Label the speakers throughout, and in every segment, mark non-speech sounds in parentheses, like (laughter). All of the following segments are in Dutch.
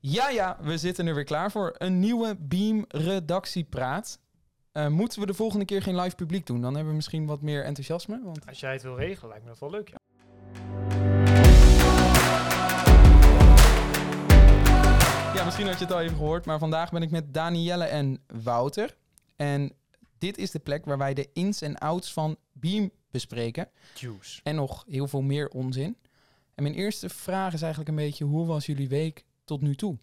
Speaker 1: Ja, ja, we zitten er weer klaar voor. Een nieuwe Beam-redactiepraat. Eh moeten we de volgende keer geen live publiek doen? Dan hebben we misschien wat meer enthousiasme. Want...
Speaker 2: Als jij het wil regelen, lijkt me dat wel leuk. Ja.
Speaker 1: Ja, misschien had je het al even gehoord, maar vandaag ben ik met Danielle en Wouter. En dit is de plek waar wij de ins en outs van Beam bespreken.
Speaker 2: Juice.
Speaker 1: En nog heel veel meer onzin. En mijn eerste vraag is eigenlijk een beetje, hoe was jullie week tot nu toe?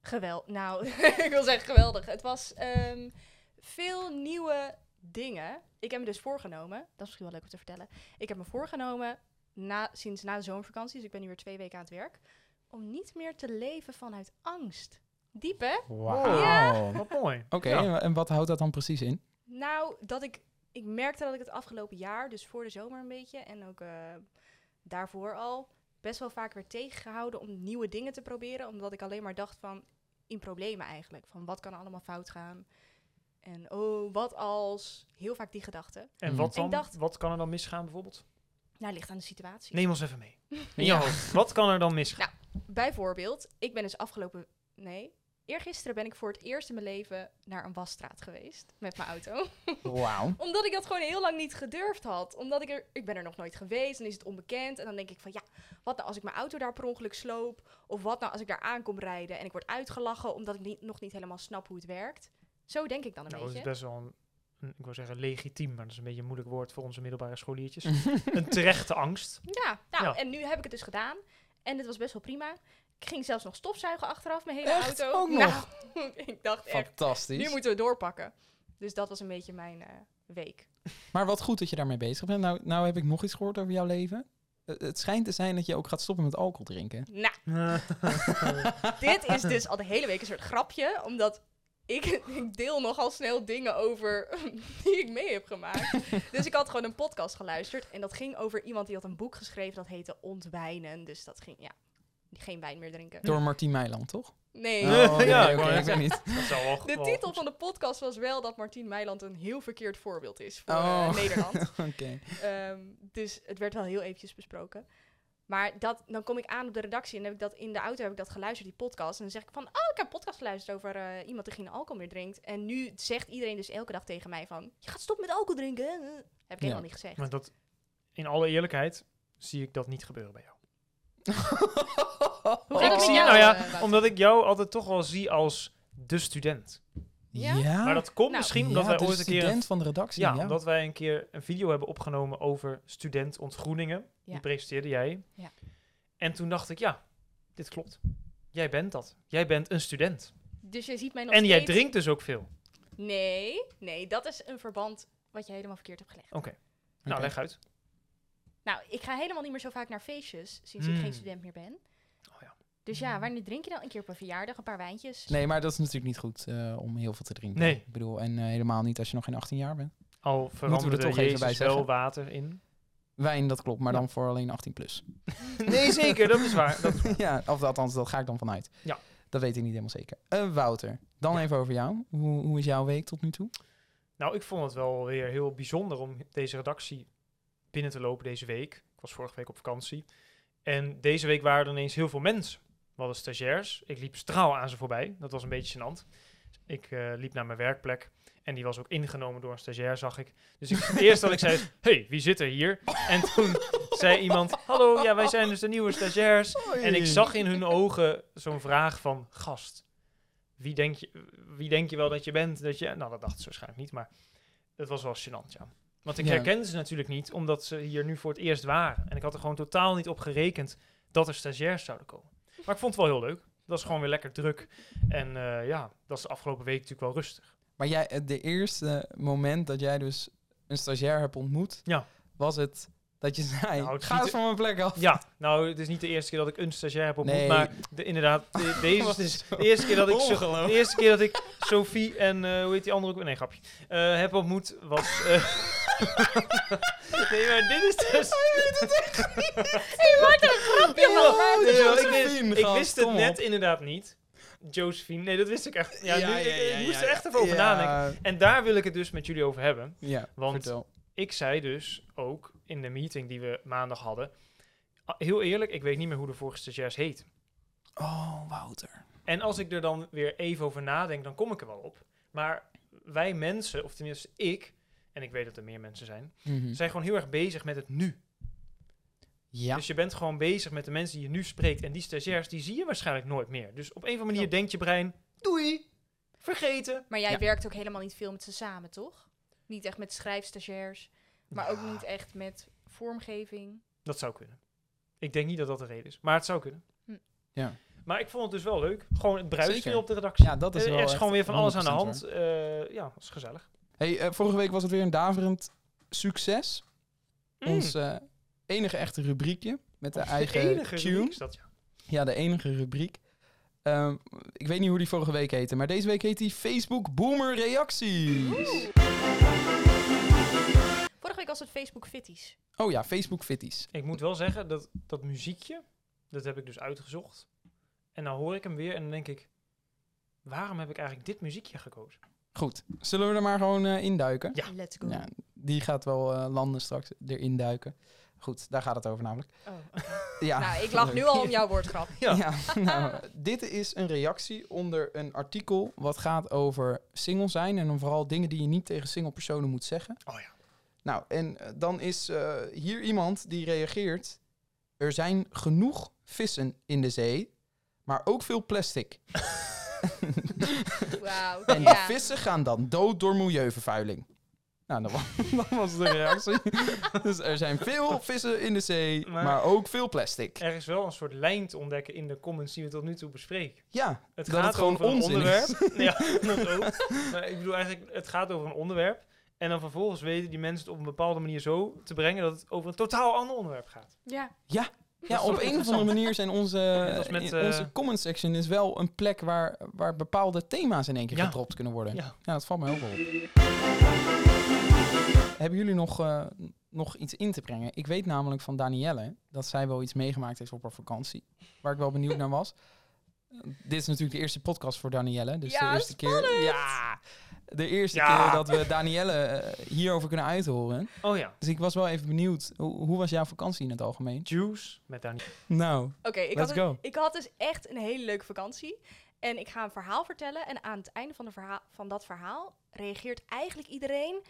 Speaker 3: Geweldig. Nou, (laughs) ik wil zeggen geweldig. Het was ehm, veel nieuwe dingen. Ik heb me dus voorgenomen, dat is misschien wel leuk om te vertellen. Ik heb me voorgenomen na, sinds na de zomervakantie, dus ik ben nu weer twee weken aan het werk, om niet meer te leven vanuit angst. Diep, hè?
Speaker 2: Wauw.
Speaker 3: Ja.
Speaker 2: Wat mooi.
Speaker 1: Oké,
Speaker 2: Ja.
Speaker 1: en wat houdt dat dan precies in?
Speaker 3: Nou, dat ik, ik merkte dat ik het afgelopen jaar, dus voor de zomer een beetje en ook eh, daarvoor al, best wel vaak werd tegengehouden om nieuwe dingen te proberen. Omdat ik alleen maar dacht van, in problemen eigenlijk. Van wat kan er allemaal fout gaan? En oh, wat als? Heel vaak die gedachten.
Speaker 2: En
Speaker 1: Mm.
Speaker 2: wat,
Speaker 3: En
Speaker 2: dan,
Speaker 3: dacht-
Speaker 2: wat kan er dan misgaan bijvoorbeeld?
Speaker 3: Nou, ligt aan de situatie.
Speaker 2: Neem ons even mee. In je hoofd. (laughs) Wat kan er dan misgaan?
Speaker 3: Bijvoorbeeld, ik ben dus afgelopen... Nee, eergisteren ben ik voor het eerst in mijn leven naar een wasstraat geweest. Met mijn auto.
Speaker 1: Wauw.
Speaker 3: Omdat ik dat gewoon heel lang niet gedurfd had. Omdat ik er, ik ben er nog nooit geweest en is het onbekend. En dan denk ik van ja, wat nou als ik mijn auto daar per ongeluk sloop? Of wat nou als ik daar aankom rijden en ik word uitgelachen omdat ik niet, nog niet helemaal snap hoe het werkt? Zo denk ik dan een
Speaker 2: Nou, dat is
Speaker 3: beetje.
Speaker 2: best wel een, een- ik wil zeggen legitiem, maar dat is een beetje een moeilijk woord voor onze middelbare scholiertjes. een terechte angst.
Speaker 3: Ja, nou
Speaker 2: Ja.
Speaker 3: en nu heb ik het dus gedaan. En het was best wel prima. Ik ging zelfs nog stofzuigen achteraf, mijn hele
Speaker 1: Echt?
Speaker 3: auto.
Speaker 2: Oh,
Speaker 3: (laughs)
Speaker 1: Ook
Speaker 3: Nou, ik dacht echt,
Speaker 1: Fantastisch.
Speaker 3: nu moeten we doorpakken. Dus dat was een beetje mijn eh, week.
Speaker 1: Maar wat goed dat je daarmee bezig bent. Nou, nou heb ik nog iets gehoord over jouw leven. Eh, het schijnt te zijn dat je ook gaat stoppen met alcohol drinken.
Speaker 3: Nou, Dit
Speaker 1: (laughs)
Speaker 3: is dus al de hele week een soort grapje, omdat ik, (laughs) ik deel nogal snel dingen over (laughs) die ik mee heb
Speaker 1: (laughs)
Speaker 3: gemaakt. dus ik had gewoon een podcast geluisterd en dat ging over iemand die had een boek geschreven dat heette Ontwijnen. Dus dat ging, ja, geen wijn meer drinken.
Speaker 1: Door Martien Meiland, toch?
Speaker 3: Nee.
Speaker 2: Ja.
Speaker 3: (laughs)
Speaker 1: Oh, nee,
Speaker 2: Ja,
Speaker 1: oké,
Speaker 2: ik wou
Speaker 1: ik weet niet. (laughs)
Speaker 2: dat zou wel
Speaker 3: De
Speaker 2: wel
Speaker 3: titel
Speaker 2: goed
Speaker 3: van de podcast was wel dat Martien Meiland een heel verkeerd voorbeeld is voor eh,
Speaker 1: Oh.
Speaker 3: Nederland.
Speaker 1: Oké.
Speaker 3: Ehm, dus het werd wel heel eventjes besproken. Maar dat, dan kom ik aan op de redactie en heb ik dat in de auto heb ik dat geluisterd, die podcast. En dan zeg ik van, oh, ik heb een podcast geluisterd over eh, iemand die geen alcohol meer drinkt. En nu zegt iedereen dus elke dag tegen mij van, je gaat stoppen met alcohol drinken. hè? Heb ik helemaal niet gezegd.
Speaker 2: Maar dat, in alle eerlijkheid, zie ik dat niet gebeuren bij jou.
Speaker 3: Hoe
Speaker 2: ik
Speaker 3: gaat het met
Speaker 2: zie,
Speaker 3: jou,
Speaker 2: nou ja,
Speaker 3: eh, Wouter?
Speaker 2: omdat ik jou altijd toch wel zie als de student.
Speaker 3: Ja?
Speaker 1: Ja?
Speaker 2: Maar dat komt
Speaker 3: Nou.
Speaker 2: misschien
Speaker 1: Ah. Ja,
Speaker 2: omdat wij
Speaker 1: de
Speaker 2: ooit een keer...
Speaker 1: student
Speaker 2: een-
Speaker 1: van de redactie.
Speaker 2: Ja,
Speaker 1: Ja,
Speaker 2: omdat wij een keer een video hebben opgenomen over student ontgroeningen. Die
Speaker 3: Ja.
Speaker 2: presenteerde jij.
Speaker 3: Ja.
Speaker 2: En toen dacht ik, ja, dit klopt. Jij bent dat. Jij bent een student.
Speaker 3: Dus jij ziet mij nog
Speaker 2: En jij
Speaker 3: steeds-
Speaker 2: drinkt dus ook veel. Oké,
Speaker 3: Nee, nee, dat is een verband wat je helemaal verkeerd hebt gelegd.
Speaker 2: nou
Speaker 1: Oké.
Speaker 2: leg uit.
Speaker 3: Nou, ik ga helemaal niet meer zo vaak naar feestjes, sinds
Speaker 2: Hmm.
Speaker 3: ik geen student meer ben.
Speaker 2: Oh ja.
Speaker 3: Dus ja, wanneer drink je dan een keer op een verjaardag, een paar wijntjes?
Speaker 1: Nee, maar dat is natuurlijk niet goed eh, om heel veel te drinken.
Speaker 2: Nee.
Speaker 1: Ik bedoel, en eh, helemaal niet als je nog geen 18 jaar bent.
Speaker 2: Al veranderde
Speaker 1: toch even
Speaker 2: Jezus
Speaker 1: bij
Speaker 2: wel
Speaker 1: zeggen?
Speaker 2: water in.
Speaker 1: Wijn, dat klopt, maar
Speaker 2: Ja.
Speaker 1: dan voor alleen 18 plus.
Speaker 2: (laughs) Nee, zeker. Dat is waar. (laughs) Dat is waar.
Speaker 1: (laughs) ja, of althans, dat ga ik dan vanuit.
Speaker 2: Ja.
Speaker 1: Dat weet ik niet helemaal zeker. Eh, Wouter, dan even over jou. Hoe, hoe is jouw week tot nu toe?
Speaker 2: Nou, ik vond het wel weer heel bijzonder om deze redactie binnen te lopen deze week. Ik was vorige week op vakantie. En deze week waren er ineens heel veel mensen. We hadden stagiairs. Ik liep straal aan ze voorbij. Dat was een beetje gênant. Ik eh, liep naar mijn werkplek. En die was ook ingenomen door een stagiair, zag ik. Dus ik, het eerste wat ik zei (laughs) is, hey, wie zit er hier? (laughs) En toen zei iemand, hallo, ja, wij zijn dus de nieuwe stagiairs. En ik zag in hun ogen zo'n vraag van, gast, wie denk, je, wie denk je wel dat je bent? Dat je, nou, dat dacht ze waarschijnlijk niet, maar het was wel gênant, ja. Want ik
Speaker 1: Ja.
Speaker 2: herkende ze natuurlijk niet, omdat ze hier nu voor het eerst waren. En ik had er gewoon totaal niet op gerekend dat er stagiairs zouden komen. Maar ik vond het wel heel leuk. Het was gewoon weer lekker druk. En eh, ja, dat is de afgelopen week natuurlijk wel rustig.
Speaker 1: Maar jij, eh, de eerste moment dat jij dus een stagiair hebt ontmoet,
Speaker 2: Ja.
Speaker 1: was het dat je zei,
Speaker 2: Nou, het
Speaker 1: ga
Speaker 2: giet-
Speaker 1: eens van mijn plek af.
Speaker 2: Ja, nou, het is niet de eerste keer dat ik een stagiair heb ontmoet,
Speaker 1: Nee. Oh,
Speaker 2: maar de, inderdaad, de- deze
Speaker 1: Was
Speaker 2: is dus
Speaker 1: zo
Speaker 2: de eerste keer dat ik, zo-
Speaker 1: ongelooflijk.
Speaker 2: de eerste keer dat ik Sophie en eh, hoe heet die andere ook? weer? Nee, grapje. Eh, heb ontmoet was. eh, nee, maar dit is dus.
Speaker 1: Oh,
Speaker 3: Je maakt er een grapje
Speaker 2: Nee,
Speaker 3: van!
Speaker 2: maar-
Speaker 1: de
Speaker 2: nee, maar ik,
Speaker 1: Josephine,
Speaker 2: wist, ik
Speaker 1: gast,
Speaker 2: wist het
Speaker 1: kom
Speaker 2: net
Speaker 1: op.
Speaker 2: inderdaad niet. Josephine, nee, dat wist ik echt. Ja, nu, ik- ik, moest er
Speaker 1: ja,
Speaker 2: echt even over
Speaker 1: ja.
Speaker 2: nadenken. En daar wil ik het dus met jullie over hebben.
Speaker 1: Ja,
Speaker 2: Want-
Speaker 1: vertel.
Speaker 2: ik zei dus ook in de meeting die we maandag hadden. a- Heel eerlijk, ik weet niet meer hoe de vorige stagiairs heet.
Speaker 1: Oh, Wouter.
Speaker 2: En als ik er dan weer even over nadenk, dan kom ik er wel op. Maar wij mensen, of tenminste ik, en ik weet dat er meer mensen zijn,
Speaker 1: Hm.
Speaker 2: zijn gewoon heel erg bezig met het nu.
Speaker 1: Ja.
Speaker 2: Dus je bent gewoon bezig met de mensen die je nu spreekt. En die stagiairs, die zie je waarschijnlijk nooit meer. Dus op een of andere manier
Speaker 3: Klopt.
Speaker 2: denkt je brein, doei, vergeten.
Speaker 3: Maar jij
Speaker 1: Ja.
Speaker 3: werkt ook helemaal niet veel met ze samen, toch? Niet echt met schrijfstagiairs, maar
Speaker 1: Nou.
Speaker 3: ook niet echt met vormgeving.
Speaker 2: Dat zou kunnen. Ik denk niet dat dat de reden is, maar het zou kunnen.
Speaker 3: Hm.
Speaker 1: Ja.
Speaker 2: Maar ik vond het dus wel leuk. Gewoon het bruist weer
Speaker 1: Zeker.
Speaker 2: op de redactie.
Speaker 1: Ja, dat is
Speaker 2: Eh,
Speaker 1: wel
Speaker 2: Er is
Speaker 1: echt
Speaker 2: gewoon weer van alles aan de
Speaker 1: 100%
Speaker 2: hand. Eh, ja, dat is gezellig.
Speaker 1: Hey, eh, vorige week was het weer een daverend succes.
Speaker 2: Mm.
Speaker 1: Ons eh, enige echte rubriekje met
Speaker 2: (laughs)
Speaker 1: de
Speaker 2: Onze
Speaker 1: eigen
Speaker 2: Mm. enige
Speaker 1: tune.
Speaker 2: rubriek is dat, ja.
Speaker 1: Ja, de enige rubriek. Ehm, ik weet niet hoe die vorige week heette, maar deze week heet die Facebook Boomer Reacties.
Speaker 3: Vorige week was het Facebook Fitties.
Speaker 1: Oh ja, Facebook Fitties.
Speaker 2: Ik moet wel zeggen, dat, dat muziekje, dat heb ik dus uitgezocht. En dan hoor ik hem weer en dan denk ik, waarom heb ik eigenlijk dit muziekje gekozen?
Speaker 1: Goed, zullen we er maar gewoon eh, induiken?
Speaker 2: Ja.
Speaker 3: Let's go.
Speaker 1: Ja, die gaat wel eh, landen straks erin duiken. Goed, daar gaat het over namelijk.
Speaker 3: Oh, oké.
Speaker 1: Ja,
Speaker 3: nou, ik lach nu
Speaker 1: (laughs)
Speaker 3: al om jouw woordgrap.
Speaker 1: Ja.
Speaker 2: (laughs)
Speaker 1: nou, dit is een reactie onder een artikel wat gaat over single zijn en dan vooral dingen die je niet tegen single personen moet zeggen.
Speaker 2: Oh ja.
Speaker 1: Nou, en eh, dan is eh, hier iemand die reageert. Er zijn genoeg vissen in de zee, maar ook veel (laughs) plastic.
Speaker 3: Wauw.
Speaker 1: En de
Speaker 3: ja.
Speaker 1: vissen gaan dan dood door milieuvervuiling. Nou, dat was, (laughs) dat was de (laughs) reactie. dus er zijn veel vissen in de zee, maar,
Speaker 2: Maar-
Speaker 1: ook veel plastic.
Speaker 2: Er is wel een soort lijn te ontdekken in de comments die we tot nu toe bespreken.
Speaker 1: Ja,
Speaker 2: Het
Speaker 1: Dat
Speaker 2: gaat
Speaker 1: het gewoon
Speaker 2: over een
Speaker 1: onzin
Speaker 2: onderwerp.
Speaker 1: is.
Speaker 2: (laughs)
Speaker 1: (laughs)
Speaker 2: ja, dat ook. Maar ik bedoel eigenlijk, het gaat over een onderwerp. En dan vervolgens weten die mensen het op een bepaalde manier zo te brengen dat het over een totaal ander onderwerp gaat.
Speaker 3: ja.
Speaker 1: ja
Speaker 2: (laughs)
Speaker 1: op een of andere manier zijn onze,
Speaker 2: Net als met,
Speaker 1: in-
Speaker 2: eh,
Speaker 1: onze comment section is wel een plek waar, waar bepaalde thema's in één keer
Speaker 2: Ja.
Speaker 1: gedropt kunnen worden. Ja.
Speaker 2: Ja.
Speaker 1: dat valt me heel veel op. Hebben jullie nog, eh, nog iets in te brengen? Ik weet namelijk van Danielle dat zij wel iets meegemaakt heeft op haar vakantie, waar ik wel benieuwd naar was. Eh, Dit is natuurlijk de eerste podcast voor Danielle. Dus
Speaker 3: Ja,
Speaker 1: de eerste keer.
Speaker 3: spannend!
Speaker 1: Ja, de eerste
Speaker 2: Ja.
Speaker 1: keer dat we Danielle eh, hierover kunnen uithoren.
Speaker 2: Oh ja,
Speaker 1: Dus ik was wel even benieuwd. Hoe, hoe was jouw vakantie in het algemeen?
Speaker 2: Juice met
Speaker 3: (laughs)
Speaker 2: Daniel.
Speaker 1: Nou,
Speaker 3: Oké, ik, had
Speaker 1: let's
Speaker 3: een-
Speaker 1: go.
Speaker 3: ik had dus echt een hele leuke vakantie. En ik ga een verhaal vertellen. En aan het einde van, de verhaal, van dat verhaal reageert eigenlijk iedereen...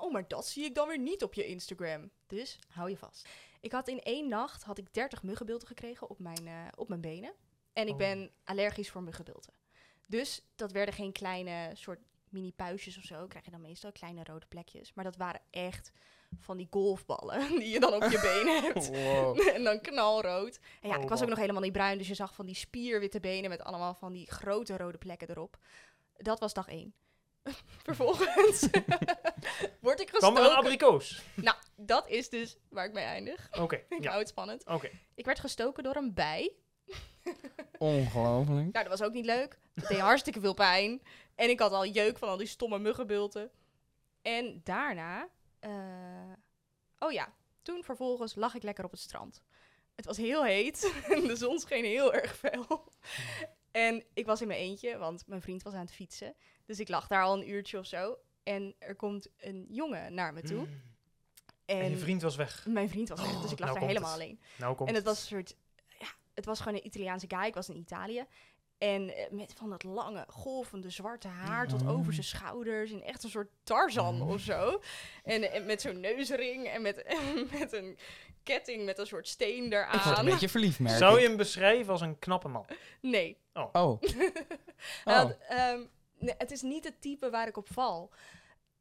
Speaker 3: Oh, maar dat zie ik dan weer niet op je Instagram. Dus hou je vast. Ik had in één nacht had ik 30 muggenbilten gekregen op mijn, eh, op mijn benen. En ik
Speaker 2: Oh.
Speaker 3: ben allergisch voor muggenbilten. Dus dat werden geen kleine soort mini puistjes of zo. Krijg je dan meestal kleine rode plekjes. Maar dat waren echt van die golfballen (laughs) die je dan op je benen hebt. (laughs)
Speaker 1: Wow.
Speaker 3: en dan knalrood. En ja,
Speaker 2: Oh,
Speaker 3: ik was ook
Speaker 2: man.
Speaker 3: nog helemaal niet bruin, dus je zag van die spierwitte benen met allemaal van die grote rode plekken erop. Dat was dag één. (laughs) Vervolgens (laughs) word ik
Speaker 2: Kwam er een
Speaker 3: gestoken.
Speaker 2: abrikoos?
Speaker 3: Nou, dat is dus waar ik mee eindig.
Speaker 2: Oké,
Speaker 3: (laughs) Ik
Speaker 2: ja,
Speaker 3: hou het spannend.
Speaker 2: oké.
Speaker 3: Ik werd gestoken door een bij.
Speaker 1: Ongelooflijk.
Speaker 3: Nou, dat was ook niet leuk. Het deed hartstikke veel pijn. En ik had al jeuk van al die stomme muggenbulten. En daarna... eh, oh ja, toen vervolgens lag ik lekker op het strand. Het was heel heet (laughs) en de zon scheen heel erg fel. En ik was in mijn eentje, want mijn vriend was aan het fietsen. Dus ik lag daar al een uurtje of zo. En er komt een jongen naar me toe.
Speaker 2: Mm.
Speaker 3: En,
Speaker 2: En je vriend was weg.
Speaker 3: mijn vriend was weg, dus ik
Speaker 2: nou
Speaker 3: lag daar
Speaker 2: komt
Speaker 3: helemaal
Speaker 2: het.
Speaker 3: alleen.
Speaker 2: Nou komt
Speaker 3: En het was een soort. Ja, het was gewoon een Italiaanse guy. Ik was in Italië. En eh, met van dat lange, golvende zwarte haar tot
Speaker 1: Oh.
Speaker 3: over zijn schouders. En echt een soort Tarzan
Speaker 2: Oh.
Speaker 3: of zo. En, eh, met zo'n neusring en met, (laughs) met een ketting met een soort steen
Speaker 1: Ik word een
Speaker 3: eraan.
Speaker 1: beetje verliefd, merk
Speaker 2: Zou
Speaker 1: ik.
Speaker 2: je hem beschrijven als een knappe man?
Speaker 3: Nee. (laughs)
Speaker 1: Oh. oh.
Speaker 3: Hij had,
Speaker 2: Oh.
Speaker 3: ehm, nee, Het is niet het type waar ik op val.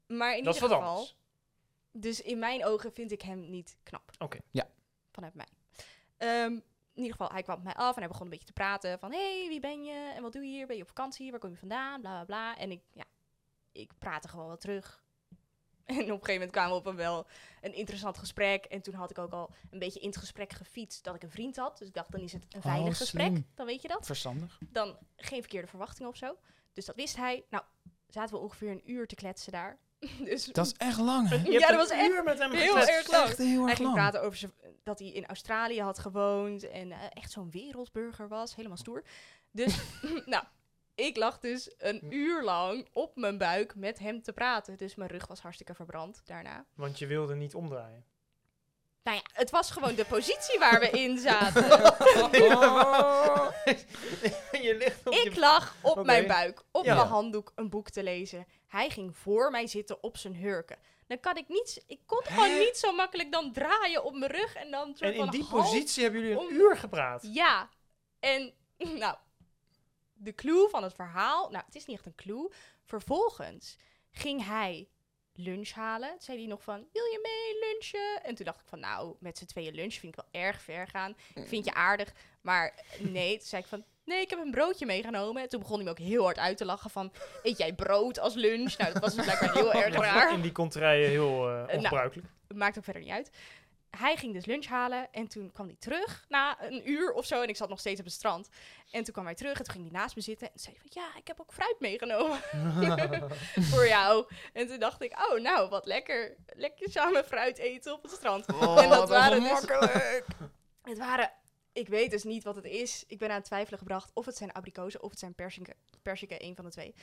Speaker 3: Maar in
Speaker 2: dat is
Speaker 3: ieder
Speaker 2: wat
Speaker 3: geval.
Speaker 2: anders.
Speaker 3: Dus in mijn ogen vind ik hem niet knap.
Speaker 2: Oké.
Speaker 1: Ja.
Speaker 3: Vanuit mij. Ehm, in ieder geval, hij kwam op mij af en hij begon een beetje te praten van... hey, wie ben je? En wat doe je hier? Ben je op vakantie? Waar kom je vandaan? Bla, bla, bla. En ik, ja, ik praatte gewoon wel terug. (laughs) En op een gegeven moment kwamen we op een wel een interessant gesprek. En toen had ik ook al een beetje in het gesprek gefietst dat ik een vriend had. Dus ik dacht, dan is het een
Speaker 1: Oh,
Speaker 3: veilig gesprek.
Speaker 1: slim.
Speaker 3: Dan weet je dat. (laughs)
Speaker 1: Verstandig.
Speaker 3: Dan geen verkeerde verwachtingen of zo. Dus dat wist hij. Nou, zaten we ongeveer een uur te kletsen daar. (laughs) Dus
Speaker 1: Dat is echt lang, hè?
Speaker 2: Je
Speaker 3: Ja,
Speaker 2: hebt
Speaker 3: dat
Speaker 2: een
Speaker 3: was echt
Speaker 2: uur met hem
Speaker 3: heel
Speaker 2: gekletst.
Speaker 3: erg lang.
Speaker 1: Echt heel
Speaker 3: Hij
Speaker 1: erg
Speaker 3: ging
Speaker 1: lang.
Speaker 3: praten over zijn- dat hij in Australië had gewoond en eh, echt zo'n wereldburger was, helemaal stoer.
Speaker 2: (laughs)
Speaker 3: Dus, (laughs) nou, ik lag dus
Speaker 2: Mm.
Speaker 3: een uur lang op mijn buik met hem te praten. Dus mijn rug was hartstikke verbrand daarna. (laughs)
Speaker 2: Want je wilde niet omdraaien.
Speaker 3: Nou ja, het was gewoon de positie waar we in
Speaker 2: (laughs)
Speaker 3: zaten.
Speaker 2: je ligt op
Speaker 3: Oh. Ik
Speaker 2: je...
Speaker 3: lag op
Speaker 2: Oké.
Speaker 3: mijn buik, op
Speaker 2: Ja.
Speaker 3: mijn handdoek, een boek te lezen. Hij ging voor mij zitten op zijn hurken. Dan kan ik niet, ik kon gewoon niet zo makkelijk dan draaien op mijn rug en dan een soort
Speaker 2: En in
Speaker 3: van
Speaker 2: die
Speaker 3: half-
Speaker 2: positie hebben jullie
Speaker 3: om-
Speaker 2: een uur gepraat.
Speaker 3: Ja, en (laughs) nou, de clue van het verhaal, nou, het is niet echt een clue. Vervolgens ging hij lunch halen. Toen zei hij nog van, wil je mee lunchen? En toen dacht ik van, nou, met z'n tweeën lunch vind ik wel erg ver gaan. Ik vind je aardig, maar nee. Toen zei ik van, nee, ik heb een broodje meegenomen. En toen begon hij me ook heel hard uit te lachen van, eet jij brood als lunch? Nou, dat was dus blijkbaar heel erg raar.
Speaker 2: In die contraien heel eh,
Speaker 3: nou.
Speaker 2: ongebruikelijk.
Speaker 3: Het maakt ook verder niet uit. Hij ging dus lunch halen en toen kwam hij terug na een uur of zo. En ik zat nog steeds op het strand. En toen kwam hij terug en toen ging hij naast me zitten. En zei hij van, ja, ik heb ook fruit meegenomen voor jou. En toen dacht ik, oh nou, wat lekker. Lekker samen fruit eten op het strand. en dat waren dus... (laughs) Het waren, ik weet dus niet wat het is. Ik ben aan het twijfelen gebracht of het zijn abrikozen of het zijn perziken. Perziken, een van de twee.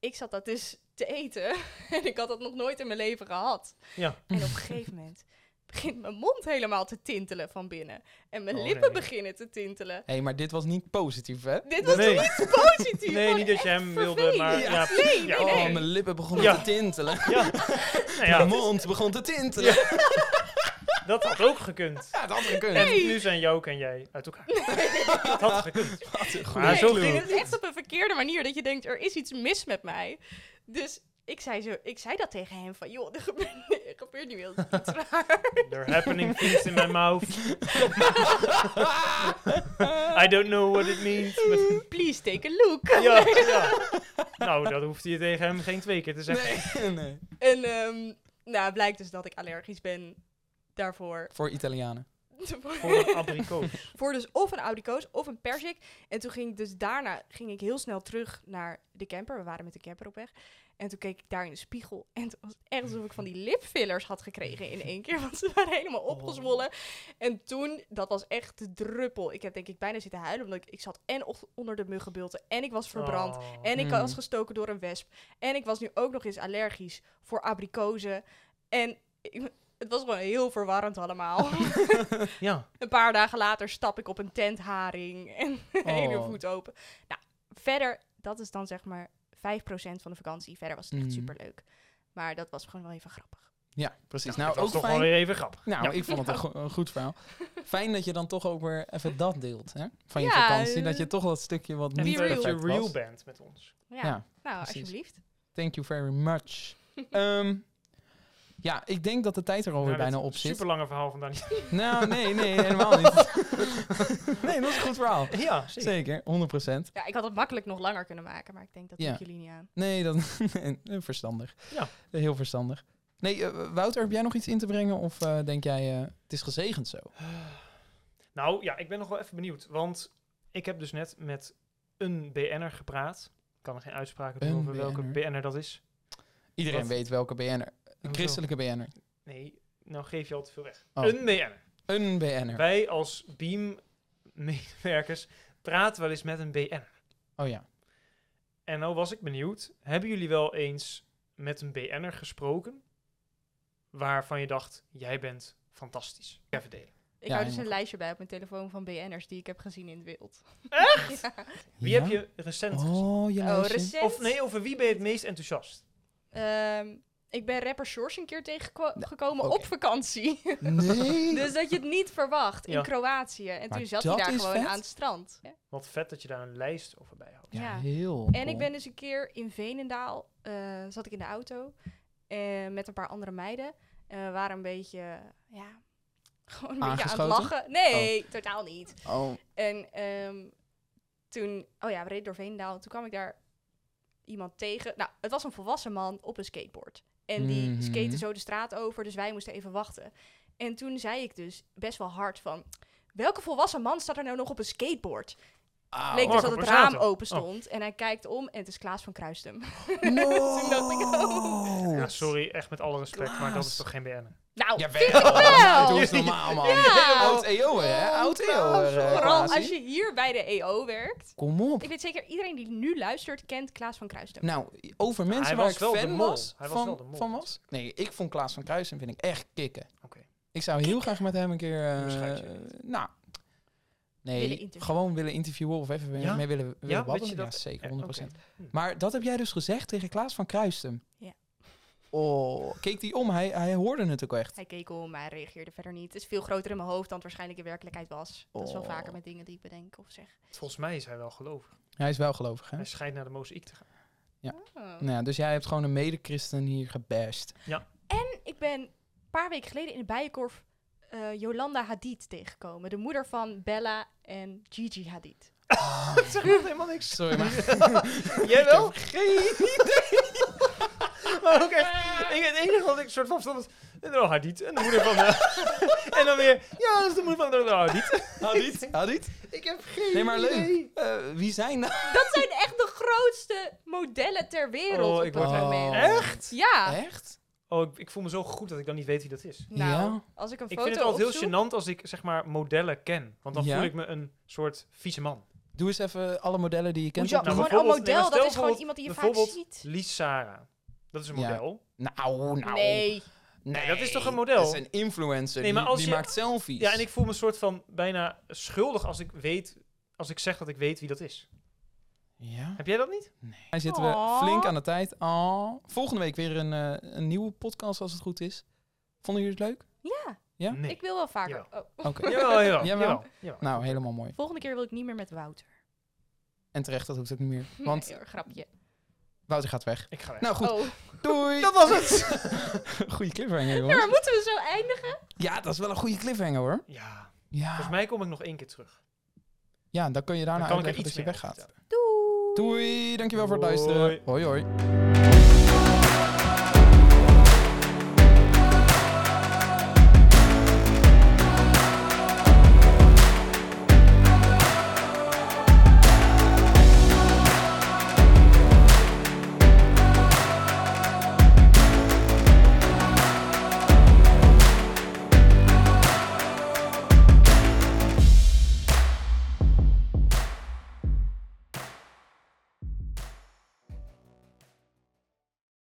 Speaker 3: Ik zat dat dus te eten (laughs) en ik had dat nog nooit in mijn leven gehad.
Speaker 2: Ja.
Speaker 3: En op een gegeven moment begint mijn mond helemaal te tintelen van binnen. En mijn
Speaker 2: Oh,
Speaker 3: lippen
Speaker 2: nee.
Speaker 3: beginnen te tintelen.
Speaker 1: hey, maar dit was niet positief, hè?
Speaker 3: Dit was
Speaker 2: Nee.
Speaker 3: toch niet positief?
Speaker 2: Nee,
Speaker 3: Gewoon
Speaker 2: niet dat je
Speaker 3: echt
Speaker 2: hem wilde,
Speaker 3: vervelend.
Speaker 2: maar...
Speaker 1: Ja.
Speaker 2: Ja, ja,
Speaker 3: Nee, nee,
Speaker 2: oh,
Speaker 1: Oh,
Speaker 3: nee.
Speaker 1: mijn lippen begonnen
Speaker 2: Ja.
Speaker 1: te tintelen.
Speaker 2: ja. Nou ja,
Speaker 1: (laughs) Mijn mond begon te tintelen. Ja,
Speaker 2: (laughs) dat had ook gekund.
Speaker 1: dat had gekund.
Speaker 2: En nu zijn Jook en jij uit elkaar. Dat had gekund.
Speaker 1: Wat een goeie
Speaker 2: Maar zo
Speaker 1: clue.
Speaker 2: ging
Speaker 3: Het is echt op een verkeerde manier dat je denkt, er is iets mis met mij. Dus ik zei, zo, ik zei dat tegen hem van, joh, er gebeurt, (laughs) er gebeurt nu heel iets raar.
Speaker 2: They're happening things in my mouth.
Speaker 1: Ah,
Speaker 2: I don't know what it means. but-
Speaker 3: Please take a look.
Speaker 2: Ja, ja. Nou, dat hoeft je tegen hem geen twee keer te zeggen.
Speaker 1: Nee, nee.
Speaker 3: En ehm, nou, blijkt dus dat ik allergisch ben daarvoor.
Speaker 1: Voor Italianen.
Speaker 2: Voor een abrikoos.
Speaker 3: voor dus of een abrikoos of een persik. En toen ging ik dus daarna ging ik heel snel terug naar de camper. We waren met de camper op weg. En toen keek ik daar in de spiegel. En het was het echt alsof ik van die lipfillers had gekregen in één keer. (laughs) Want ze waren helemaal opgezwollen. En toen, dat was echt de druppel. Ik heb denk ik bijna zitten huilen. Omdat ik, ik zat en och- onder de muggenbulten. En ik was verbrand.
Speaker 2: Oh.
Speaker 3: En ik
Speaker 1: Mm.
Speaker 3: was gestoken door een wesp. En ik was nu ook nog eens allergisch voor abrikozen. En ik- het was gewoon heel verwarrend allemaal.
Speaker 2: Ja.
Speaker 3: Een paar dagen later stap ik op een tentharing (laughs) en de ene
Speaker 1: Oh.
Speaker 3: voet open. Nou, verder, dat is dan zeg maar 5% van de vakantie. Verder was het echt
Speaker 1: Mhm.
Speaker 3: superleuk. Maar dat was gewoon wel even grappig.
Speaker 1: Ja, precies.
Speaker 2: dat
Speaker 1: Nou,
Speaker 2: was
Speaker 1: ook
Speaker 2: toch
Speaker 1: fijn.
Speaker 2: wel weer even grappig.
Speaker 1: Nou,
Speaker 2: Ja.
Speaker 1: ik vond het een, go- een goed verhaal. Fijn dat je dan toch ook weer even dat deelt, hè? Van je
Speaker 3: Ja,
Speaker 1: vakantie.
Speaker 3: eh,
Speaker 1: Dat je toch dat stukje wat
Speaker 2: En
Speaker 1: niet
Speaker 3: real.
Speaker 2: dat je
Speaker 1: perfect
Speaker 2: real
Speaker 1: was.
Speaker 2: bent met ons.
Speaker 3: Ja,
Speaker 1: Ja,
Speaker 3: nou,
Speaker 1: precies.
Speaker 3: alsjeblieft.
Speaker 1: Thank you very
Speaker 3: (laughs)
Speaker 1: much. Ehm, ja, ik denk dat de tijd er alweer
Speaker 2: Nou,
Speaker 1: bijna
Speaker 2: dit
Speaker 1: op zit.
Speaker 2: Super lange verhaal van Dani.
Speaker 1: Nou, nee, nee, helemaal
Speaker 2: (laughs)
Speaker 1: niet. nee, dat is een goed verhaal.
Speaker 2: Ja, zeker.
Speaker 1: Zeker, 100%.
Speaker 3: Ja, ik had het makkelijk nog langer kunnen maken, maar ik denk dat
Speaker 1: Ja.
Speaker 3: doe ik jullie niet aan.
Speaker 1: Nee, dat (laughs) nee, eh, verstandig.
Speaker 2: Ja.
Speaker 1: Eh, Heel verstandig. Nee, eh, Wouter, heb jij nog iets in te brengen? Of eh, denk jij, eh, het is gezegend zo?
Speaker 2: Nou ja, ik ben nog wel even benieuwd. Want ik heb dus net met een BN'er gepraat. Ik kan er geen uitspraken doen
Speaker 1: Een
Speaker 2: over welke
Speaker 1: BN'er?
Speaker 2: BN'er dat is.
Speaker 1: Iedereen
Speaker 2: Wat?
Speaker 1: weet welke BN'er. Een
Speaker 2: Hoezo?
Speaker 1: christelijke BN'er.
Speaker 2: Nee, nou geef je al te veel weg.
Speaker 1: Oh.
Speaker 2: Een BN'er.
Speaker 1: Een BN'er.
Speaker 2: Wij als Beam-medewerkers praten wel eens met een BN'er.
Speaker 1: Oh ja.
Speaker 2: En nou was ik benieuwd, hebben jullie wel eens met een BN'er gesproken waarvan je dacht, jij bent fantastisch? Even delen.
Speaker 3: Ik
Speaker 1: Ja,
Speaker 3: hou dus een
Speaker 1: helemaal
Speaker 3: lijstje bij op mijn telefoon van BN'ers die ik heb gezien in het wild. (laughs)
Speaker 2: Wie
Speaker 1: Ja?
Speaker 2: heb je recent gezien?
Speaker 1: Oh, ja.
Speaker 3: Oh,
Speaker 1: zie je.
Speaker 3: recent.
Speaker 2: Of nee, over wie ben je het meest enthousiast?
Speaker 3: Ehm, ik ben rapper Source een keer
Speaker 1: Nou,
Speaker 3: tegengekomen
Speaker 1: oké.
Speaker 3: op vakantie. (laughs)
Speaker 1: Nee.
Speaker 3: dus dat je het niet verwacht in
Speaker 2: Ja.
Speaker 3: Kroatië. En
Speaker 1: Maar
Speaker 3: toen zat hij
Speaker 1: dat
Speaker 3: daar
Speaker 1: is
Speaker 3: gewoon
Speaker 1: vet.
Speaker 3: aan het strand. Ja.
Speaker 2: Wat vet dat je daar een lijst over bijhoudt.
Speaker 1: ja,
Speaker 3: ja.
Speaker 1: heel.
Speaker 3: En ik
Speaker 1: cool.
Speaker 3: ben dus een keer in Venendaal, eh, zat ik in de auto eh, met een paar andere meiden. En we waren een beetje, ja, (laughs) gewoon een beetje aan het
Speaker 1: Aangeschoten?
Speaker 3: lachen. Nee, totaal niet.
Speaker 1: Oh,
Speaker 3: En ehm, toen, oh ja, we reden door Venendaal. Toen kwam ik daar iemand tegen. Nou, het was een volwassen man op een skateboard. En die
Speaker 1: Mhm.
Speaker 3: skaten zo de straat over, dus wij moesten even wachten. En toen zei ik dus best wel hard van... Welke volwassen man staat er nou nog op een skateboard?
Speaker 1: Au.
Speaker 3: Leek dus
Speaker 2: Marco
Speaker 3: dat het
Speaker 2: Borsato.
Speaker 3: raam open stond. En hij kijkt om en het is Klaas van
Speaker 1: (laughs)
Speaker 3: Kruistem.
Speaker 1: No.
Speaker 3: (laughs) Toen dacht ik, oh.
Speaker 2: Ja, sorry, echt met alle respect, maar dat is
Speaker 1: Klaas.
Speaker 2: toch geen BN'er?
Speaker 3: Nou,
Speaker 1: Ja,
Speaker 2: (laughs)
Speaker 3: vind ik wel!
Speaker 1: Doe eens normaal, man.
Speaker 3: Ja.
Speaker 1: Oud
Speaker 2: E
Speaker 1: EO'er, hè? Oud EO'er. eh,
Speaker 3: Vooral
Speaker 1: Klaasie.
Speaker 3: als je hier bij de EO werkt.
Speaker 1: Kom op.
Speaker 3: Ik weet zeker, iedereen die nu luistert, kent Klaas van Kruistem.
Speaker 1: Nou, over mensen
Speaker 2: Hij
Speaker 1: waar
Speaker 2: was
Speaker 1: ik
Speaker 2: wel de
Speaker 1: fan
Speaker 2: mol.
Speaker 1: was,
Speaker 2: Hij was
Speaker 1: van,
Speaker 2: wel de mol.
Speaker 1: van was. Nee, ik vond Klaas van Kruisen vind ik echt kicken.
Speaker 2: Oké.
Speaker 1: Ik zou heel graag met hem een keer... eh,
Speaker 2: Onderscheid je
Speaker 1: nou,
Speaker 3: Willen
Speaker 1: nee,
Speaker 3: interviewen.
Speaker 1: gewoon willen interviewen of even
Speaker 2: Ja?
Speaker 1: mee willen, willen
Speaker 2: weet
Speaker 1: babbelen. Ja,
Speaker 2: je dat?
Speaker 1: zeker,
Speaker 2: Eh,
Speaker 1: 100%.
Speaker 2: oké.
Speaker 1: Maar dat heb jij dus gezegd tegen Klaas van Kruistem.
Speaker 3: Ja.
Speaker 1: Oh, keek die om. Hij, hij hoorde het ook echt.
Speaker 3: Hij keek om, maar hij reageerde verder niet. Het is veel groter in mijn hoofd dan het waarschijnlijk in werkelijkheid was. Dat is wel
Speaker 1: Oh.
Speaker 3: vaker met dingen die ik bedenk of zeg.
Speaker 2: Volgens mij is hij wel gelovig.
Speaker 1: Hij is wel gelovig, hè?
Speaker 2: Hij schijnt naar de mozaïek te gaan.
Speaker 3: Oh.
Speaker 1: Nou ja, dus jij hebt gewoon een mede-christen hier gebashed.
Speaker 3: Ik ben een paar weken geleden in de Bijenkorf eh, Yolanda Hadid tegengekomen. De moeder van Bella en Gigi Hadid.
Speaker 2: Dat zegt echt helemaal niks.
Speaker 1: Sorry, (laughs) maar
Speaker 2: Jij wel? Geen idee. (laughs) maar ook echt, ik, het enige wat ik soort van verstand was, nou, haar niet. En de moeder van, eh, (laughs) en dan weer, ja, dat is de moeder van, nou, haar niet. (laughs)
Speaker 1: Hadid? Hadid?
Speaker 2: Ik heb geen
Speaker 1: Nee, maar leuk.
Speaker 2: idee.
Speaker 1: Eh, wie zijn dat?
Speaker 3: Dat zijn echt de grootste modellen ter wereld
Speaker 2: Oh,
Speaker 3: op
Speaker 2: ik
Speaker 3: dat
Speaker 1: word-
Speaker 3: moment.
Speaker 1: Oh.
Speaker 2: Echt?
Speaker 3: Ja.
Speaker 1: Echt?
Speaker 2: Oh, ik, ik voel me zo goed dat ik dan niet weet wie dat is.
Speaker 3: Nou,
Speaker 1: Ja.
Speaker 3: als ik een
Speaker 2: Ik
Speaker 3: foto
Speaker 2: vind het altijd
Speaker 3: opzoek-
Speaker 2: heel gênant als ik, zeg maar, modellen ken. Want dan
Speaker 1: Ja?
Speaker 2: voel ik me een soort vieze man.
Speaker 1: Doe eens even alle modellen die je kent.
Speaker 3: Hoezo?
Speaker 1: op-
Speaker 2: Nou,
Speaker 3: gewoon een
Speaker 2: bijvoorbeeld-
Speaker 3: model,
Speaker 2: nee, maar stel
Speaker 3: dat is gewoon iemand die je vaak
Speaker 2: bijvoorbeeld-
Speaker 3: ziet.
Speaker 2: Lies Sarah. Dat is een
Speaker 1: Ja.
Speaker 2: model.
Speaker 1: Nou, nou.
Speaker 3: Nee.
Speaker 1: Nee,
Speaker 2: dat is toch een model?
Speaker 1: Dat is een influencer.
Speaker 2: Nee,
Speaker 1: die-
Speaker 2: maar als
Speaker 1: die
Speaker 2: je-
Speaker 1: maakt selfies.
Speaker 2: Ja, en ik voel me een soort van bijna schuldig als ik weet, als ik zeg dat ik weet wie dat is.
Speaker 1: Ja?
Speaker 2: Heb jij dat niet?
Speaker 1: Nee. Daar zitten we
Speaker 3: Aw.
Speaker 1: flink aan de tijd. Oh. Volgende week weer een, eh, een nieuwe podcast, als het goed is. Vonden jullie het
Speaker 3: (laughs)
Speaker 1: leuk?
Speaker 3: Ja,
Speaker 1: Ja?
Speaker 2: Nee. (laughs)
Speaker 3: ik wil wel vaker. Oh.
Speaker 1: Oké.
Speaker 2: Jawel, jawel,
Speaker 1: Jawel.
Speaker 2: jawel. jawel.
Speaker 1: Nou, helemaal mooi.
Speaker 3: Volgende keer wil ik niet meer met Wouter.
Speaker 1: En terecht, dat hoeft ook niet meer. Want
Speaker 3: Nee, hoor, grapje.
Speaker 1: Wouter gaat weg.
Speaker 2: Ik ga weg.
Speaker 1: Nou goed,
Speaker 3: Oh.
Speaker 1: doei!
Speaker 2: Dat was het!
Speaker 1: (laughs) Goeie cliffhanger, jongens.
Speaker 3: (laughs) Ja, maar moeten we zo eindigen?
Speaker 1: Ja, dat is wel een goede cliffhanger, hoor.
Speaker 2: Ja,
Speaker 1: Ja,
Speaker 2: volgens mij kom ik nog één keer terug.
Speaker 1: ja dan kun je daarna
Speaker 2: Dan kan ik er
Speaker 1: uitleggen
Speaker 2: iets
Speaker 1: dat je
Speaker 2: meer
Speaker 1: weggaat.
Speaker 2: over
Speaker 3: Doei.
Speaker 1: Doei, dankjewel voor het
Speaker 2: Doei.
Speaker 1: luisteren. Hoi, hoi.
Speaker 2: vertellen.